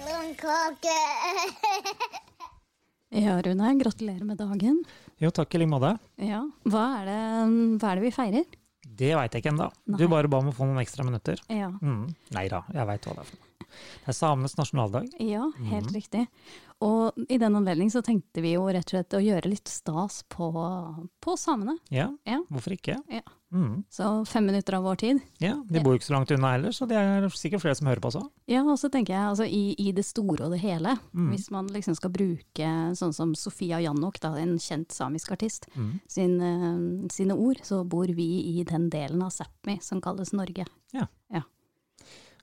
pepperkake. Ja, Rune, gratulerer med dagen. Jo, takk i like måte. Ja, hva er det, hva er det vi feirer? Det veit jeg ikke ennå. Nei. Du bare ba om å få noen ekstra minutter. Ja, Mm. Nei da, jeg veit hva det er for noe. Det er samenes nasjonaldag. ja helt riktig. Og i den anledning så tenkte vi jo rett og slett å gjøre litt stas på, på samene. Ja, Ja, hvorfor ikke? ja. Mm. Så fem minutter av vår tid. Ja, De bor jo ikke så langt unna heller, så det er sikkert flere som hører på også. Ja, og så tenker jeg altså, i, i det store og det hele, hvis man liksom skal bruke sånn som Sofia Janok, da, en kjent samisk artist, sin, eh, sine ord, så bor vi i den delen av Sápmi som kalles Norge. Ja. Ja.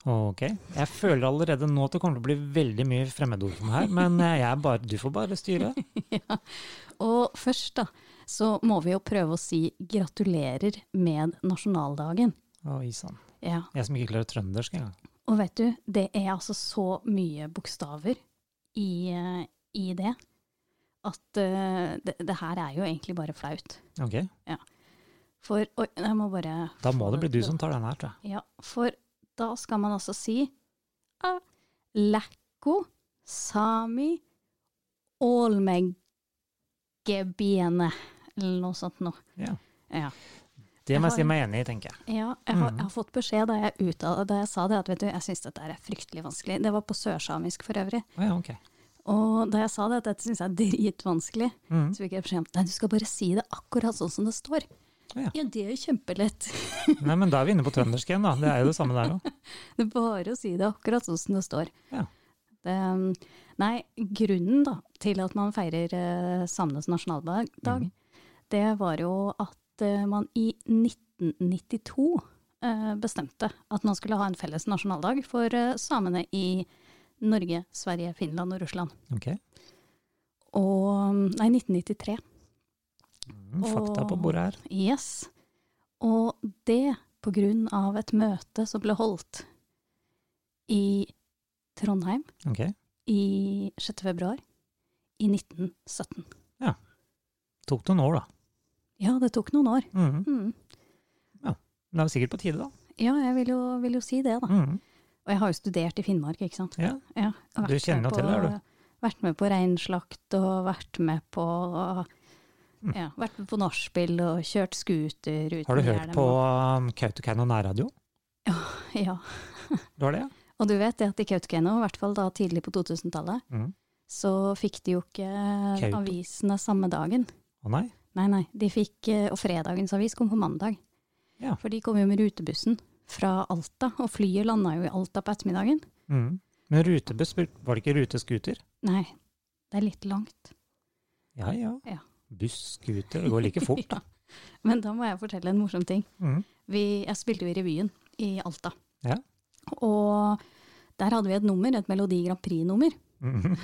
Ok. Jeg føler allerede nå at det kommer til å bli veldig mye fremmedord for meg her, men eh, jeg er bare, du får bare styre. ja. Og først da, så må vi jo prøve å si gratulerer med nasjonaldagen. Oi sann. Ja. Jeg som ikke klarer trøndersk engang. Og vet du, det er altså så mye bokstaver i, eh, i det, at eh, det, det her er jo egentlig bare flaut. Ok, For Oi, jeg må bare da må få det bli du som tar den her, tror jeg. Ja, for da skal man altså si ah, Lækko, sami, ålmeggebiene, eller noe sånt noe. Ja. Ja. Det må Jeg jeg si har- meg enig i, tenker jeg. Ja, jeg har, jeg har fått beskjed da jeg, uttalte, da jeg sa det, at vet du, jeg syns dette er fryktelig vanskelig. Det var på sørsamisk for øvrig. Å ja, ok. Og da jeg sa det, at dette syns jeg er dritvanskelig, Mhm. så fikk jeg beskjed om nei, du skal bare si det akkurat sånn som det står. Ja. Ja, det er jo kjempelett. Nei, men da er vi inne på trøndersk igjen, da. Det er jo det samme der òg. Det er bare å si det akkurat sånn som det står. Ja. Det, eh, nei, grunnen da, til at man feirer eh, samenes nasjonaldag, dag, det var jo at eh, man i 1992 eh, bestemte at man skulle ha en felles nasjonaldag for eh, samene i Norge, Sverige, Finland og Russland. Ok. Og, nei, 1993. Mm, Fakta på Og- bordet her. Yes. Og det på grunn av et møte som ble holdt i Trondheim Ok. i 6. februar i 1917. Tok det noen år, da. Ja, det tok noen år. Mhm. Mm. Men det er jo sikkert på tide, da. Ja, jeg vil jo, vil jo si det, da. Mhm. Og jeg har jo studert i Finnmark, ikke sant. Ja. Ja, og Du vært kjenner med jo til det, på- er du? Vært med på reinslakt og vært med på ja, Vært med på nachspiel og kjørt scooter uten Har du hørt hjelm på og- um, Kautokeino nærradio? Ja. Du har det? ja? Og du vet det at i Kautokeino, i hvert fall da tidlig på 2000-tallet, Mhm. så fikk de jo ikke Kauto. avisene samme dagen. Å nei? Nei, nei. De fikk, eh, og fredagens avis kom på mandag. Ja. For de kom jo med rutebussen fra Alta, og flyet landa jo i Alta på ettermiddagen. Mhm. Men rutebuss, var det ikke rutescooter? Nei, det er litt langt. Ja ja. Ja. Buss, scooter, det går like fort. Ja. Men da må jeg fortelle en morsom ting. Mhm. Vi, jeg spilte jo i revyen i Alta. Ja. Og der hadde vi et nummer, et Melodi Grand Prix-nummer, Mhm.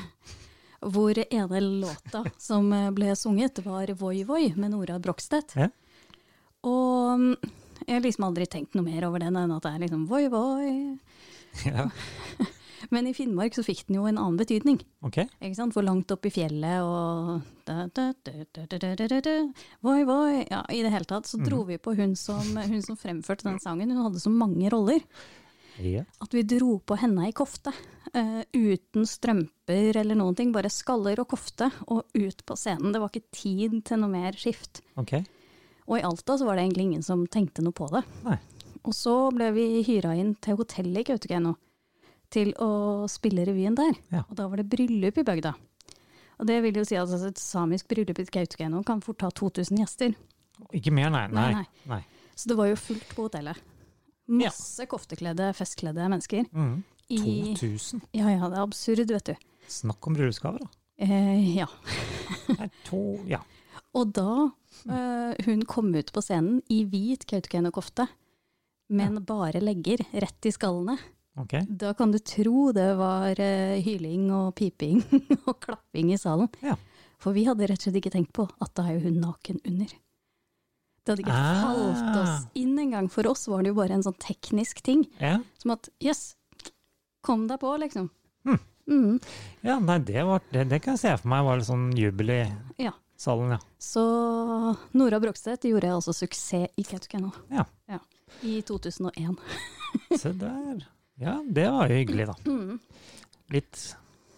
hvor ene låta som eh, ble sunget, var Voi Voi med Nora Brogstedt. Ja. Og mm, jeg har liksom aldri tenkt noe mer over den enn at det er liksom Voi Voi. ja. Men i Finnmark så fikk den jo en annen betydning. Ok. Ikke sant? For langt opp i fjellet og da, da, da, da, da, da, da, da, da. Voi, voi. Ja, I det hele tatt så dro vi på hun som, hun som fremførte den sangen. Hun hadde så mange roller Ja. at vi dro på henne i kofte. eh, uten strømper eller noen ting. Bare skaller og kofte og ut på scenen. Det var ikke tid til noe mer skift. Ok. Og i Alta så var det egentlig ingen som tenkte noe på det. Nei. Og så ble vi hyra inn til hotellet i Kautokeino til å spille revyen der. Ja. Og da var det bryllup i bygda. Og det vil jo si at altså, et samisk bryllup i Kautokeino kan fort ha 2000 gjester. Ikke mer, nei. Nei. Nei, nei. Så det var jo fullt på hotellet. Masse koftekledde, festkledde mennesker. Mhm. I, 2000? ja ja, det er absurd, vet du. Snakk om bryllupsgaver, da. Eh, ja. Det er to, ja. Og da eh, hun kom ut på scenen i hvit Kautokeino-kofte, men bare legger rett i skallene. Ok. Da kan du tro det var eh, hyling og piping og klapping i salen. Ja. For vi hadde rett og slett ikke tenkt på at da er jo hun naken under. Det hadde ikke Ah. falt oss inn engang. For oss var det jo bare en sånn teknisk ting. Ja. Som at yes, kom deg på, liksom. Hmm. Mm, ja nei, det, var, det, det kan jeg se for meg var litt sånn jubel i ja. salen, ja. Så Nora Brogstedt gjorde altså suksess i Kautokeino. Ja. I 2001. Mm. Se der. Ja, det var jo hyggelig, da. Litt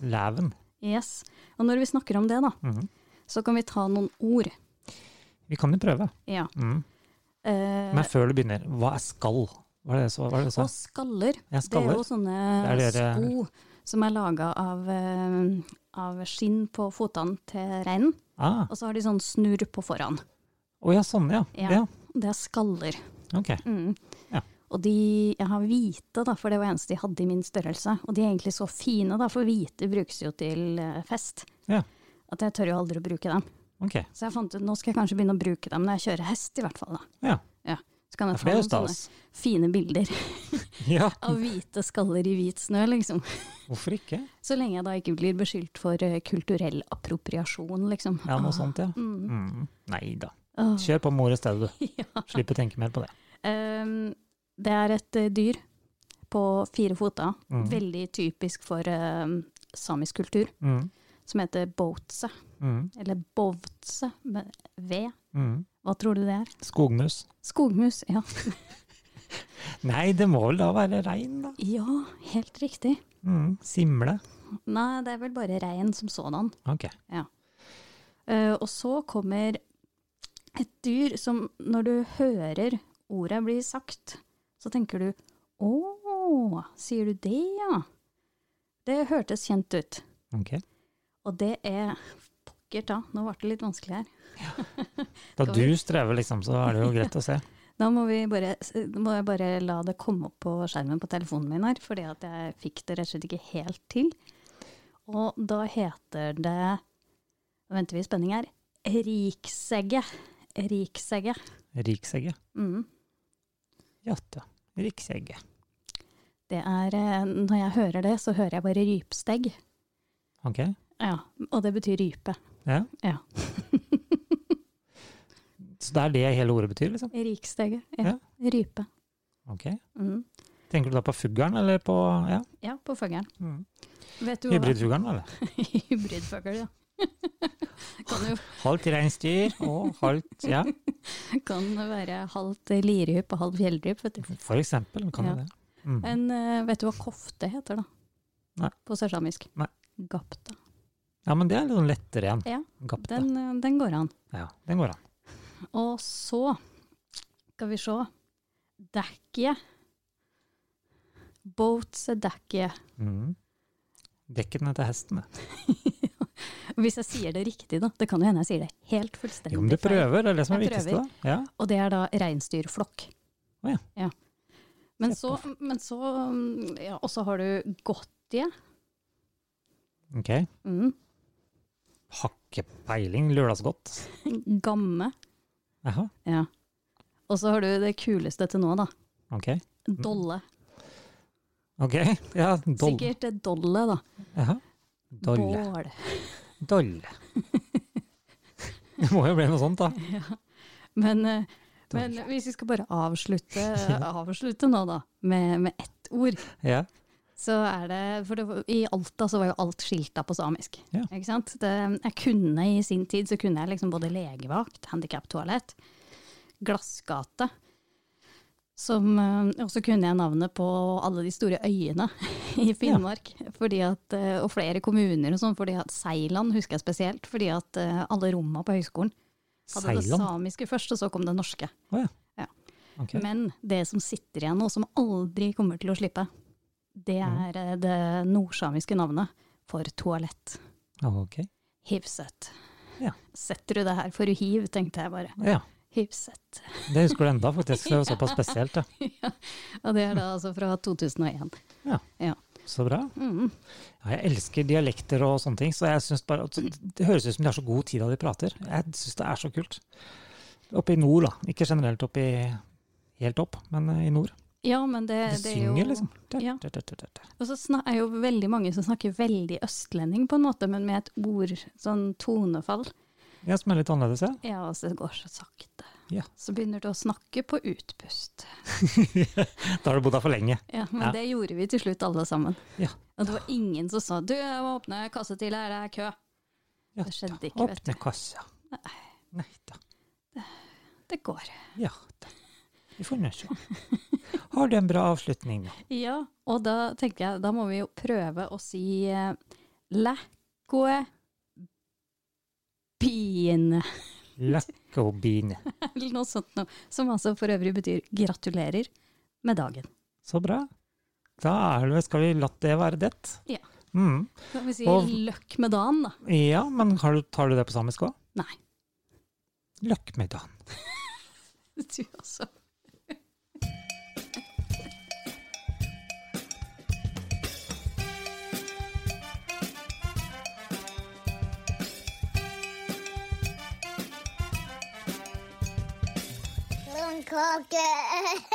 Læven. Yes. Og når vi snakker om det, da, Mhm. så kan vi ta noen ord. Vi kan jo prøve. Ja. Mm. Eh, Men før du begynner, hva er skall? Hva er det så? Hva er det så? og skaller. Jeg Det er skaller. jo sånne Det er dere- sko som er laga av, eh, av skinn på fotene til reinen. Ah. Og så har de sånn snurr på foran. Å ja, sånn ja. Ja. ja. Det er skaller. Ok. Mm. Ja. Og de jeg har hvite, da, for det var eneste de hadde i min størrelse. Og de er egentlig så fine, da, for hvite brukes jo til eh, fest. Ja. At jeg tør jo aldri å bruke dem. ok. Så jeg fant ut nå skal jeg kanskje begynne å bruke dem når jeg kjører hest, i hvert fall. da. Ja. Så kan Ja, jeg få For det er jo noen sånne stas. fine bilder Ja, av hvite skaller i hvit snø, liksom. hvorfor ikke? Så lenge jeg da ikke blir beskyldt for eh, kulturell appropriasjon, liksom. Ja, Ah, noe sånt, ja. Mm. Mm. Nei da. ah, Kjør på med ordet i stedet, du. ja. Slipp å tenke mer på det. Ehm, det er et eh, dyr på fire foter, Mhm. veldig typisk for eh, samisk kultur, Mm. som heter boutse, Mm. eller bovtse, med V. Mm. Hva tror du det er? Skogmus. Skogmus, ja. Nei, det må vel da være rein, da. Ja, helt riktig. Mm. Simle. Nei, det er vel bare rein som sådan. Ok. Eh, og så kommer et dyr som når du hører ordet bli sagt, så tenker du Å, sier du det, ja? Det hørtes kjent ut. ok. Og det er Pokker ta, nå ble det litt vanskelig her. Da Skal du vi- strever, liksom, så er det jo greit å se. Da må, vi bare, må jeg bare la det komme opp på skjermen på telefonen min her, fordi at jeg fikk det rett og slett ikke helt til. Og da heter det Nå venter vi i spenning her. Riksegge. Riksegge. Riksegge. Mm. Jatte. Riksegge. Det er, eh, når jeg hører det, så hører jeg bare rypstegg. Ok. Ja, og det betyr rype. Ja. Ja. Så det er det hele ordet betyr, liksom? Rikstegg. Ja. Rype. Ok. Mm. Tenker du da på fuglen, eller på ja. Ja, på fuglen. mm. Vet du hva- hybridfuglen, eller? Hybridfugl, ja. kan jo Halvt reinsdyr og halvt Ja, kan være halvt liryp og halvt fjellryp, vet du. for eksempel. Kan Ja. du det? Mm. En, eh, vet du hva kofte heter, da? Nei. På sørsamisk? Nei. Gapta. Ja, men det er litt sånn lettere igjen. Ja, Gapte. Den, eh, den går an. Ja, den går an. Og så skal vi se. Dekkje. Boatse dekkje. Mm. Dekken heter hesten, det. Hvis jeg sier det riktig, da. Det kan jo hende jeg sier det helt fullstendig Jo, men du prøver, det er det som er det Jeg viktigste. da. Ja. Og det er da reinsdyrflokk. Å ja. Men så, Se på. men så mm, ja, Og så har du godtje. Ok. Mm. Hakkepeiling, lørdagsgodt. Gamme. Jaha, Ja. Og så har du det kuleste til nå, da. ok. Dolle. Ok, ja, doll. Sikkert det dolle, da. Jaha. Dolle. Bål. Dolle. Det må jo bli noe sånt, da. Men, eh, men Dolle. hvis vi skal bare avslutte, avslutte nå, da, med, med ett ord, Ja. så er det For det, var- i Alta så var jo alt skilta på samisk. Ja. Ikke sant? Det, jeg kunne i sin tid så kunne jeg liksom både legevakt, handikaptoalett, glassgate. Som, eh, og så kunne jeg navnet på alle de store øyene i Finnmark. Fordi at, eh, og flere kommuner og sånn. fordi at Seiland husker jeg spesielt. Fordi at eh, alle romma på høyskolen hadde det Seiland. samiske først, og så kom det norske. Ok. Men det som sitter igjen nå, som aldri kommer til å slippe, det er eh, det nordsamiske navnet for toalett. ok. Hivset. Ja. Setter du det her for hiv, tenkte jeg bare. Ja, Hivset. det husker du enda, faktisk. Det var såpass spesielt, ja. Og det er da altså fra 2001. Så bra. Mm. Ja, jeg elsker dialekter og sånne ting, så jeg synes bare, altså, det høres ut som de har så god tid da de prater. Jeg syns det er så kult. Oppe i nord, da. Ikke generelt oppe i helt opp, men eh, i nord. Ja, men det, Eh, De det er jo synger, liksom. ja. Tørt, tørt, tørt, tørt. Og så sna- er jo veldig mange som snakker veldig østlending på en måte, men med et ord, sånn tonefall. Ja, som er litt annerledes, ja. Ja, altså det går så sakte. Ja. Så begynner du å snakke på utpust. Da har du bodd her for lenge. Ja, men Ja. det gjorde vi til slutt alle sammen. Ja. Og det var ingen som sa 'du, jeg må åpne kasse til, her det er kø'. Ja, Det skjedde da. ikke, vet Åpne kassa. Nei. Nei da. Det går. Ja da. Vi får nå se. Har du en bra avslutning nå? Ja, og da tenker jeg, da må vi jo prøve å si eh, Lækkoe biene, Lekkobean. eller noe sånt noe. Som altså for øvrig betyr gratulerer med dagen. Så bra. Da er det, vel- skal vi la det være det. Ja. Mm. Kan vi si Og- løkk med dagen, da? Ja, men har du, tar du det på samisk òg? Nei. Løkkmiddagen. Du altså. også. Loon Cocker.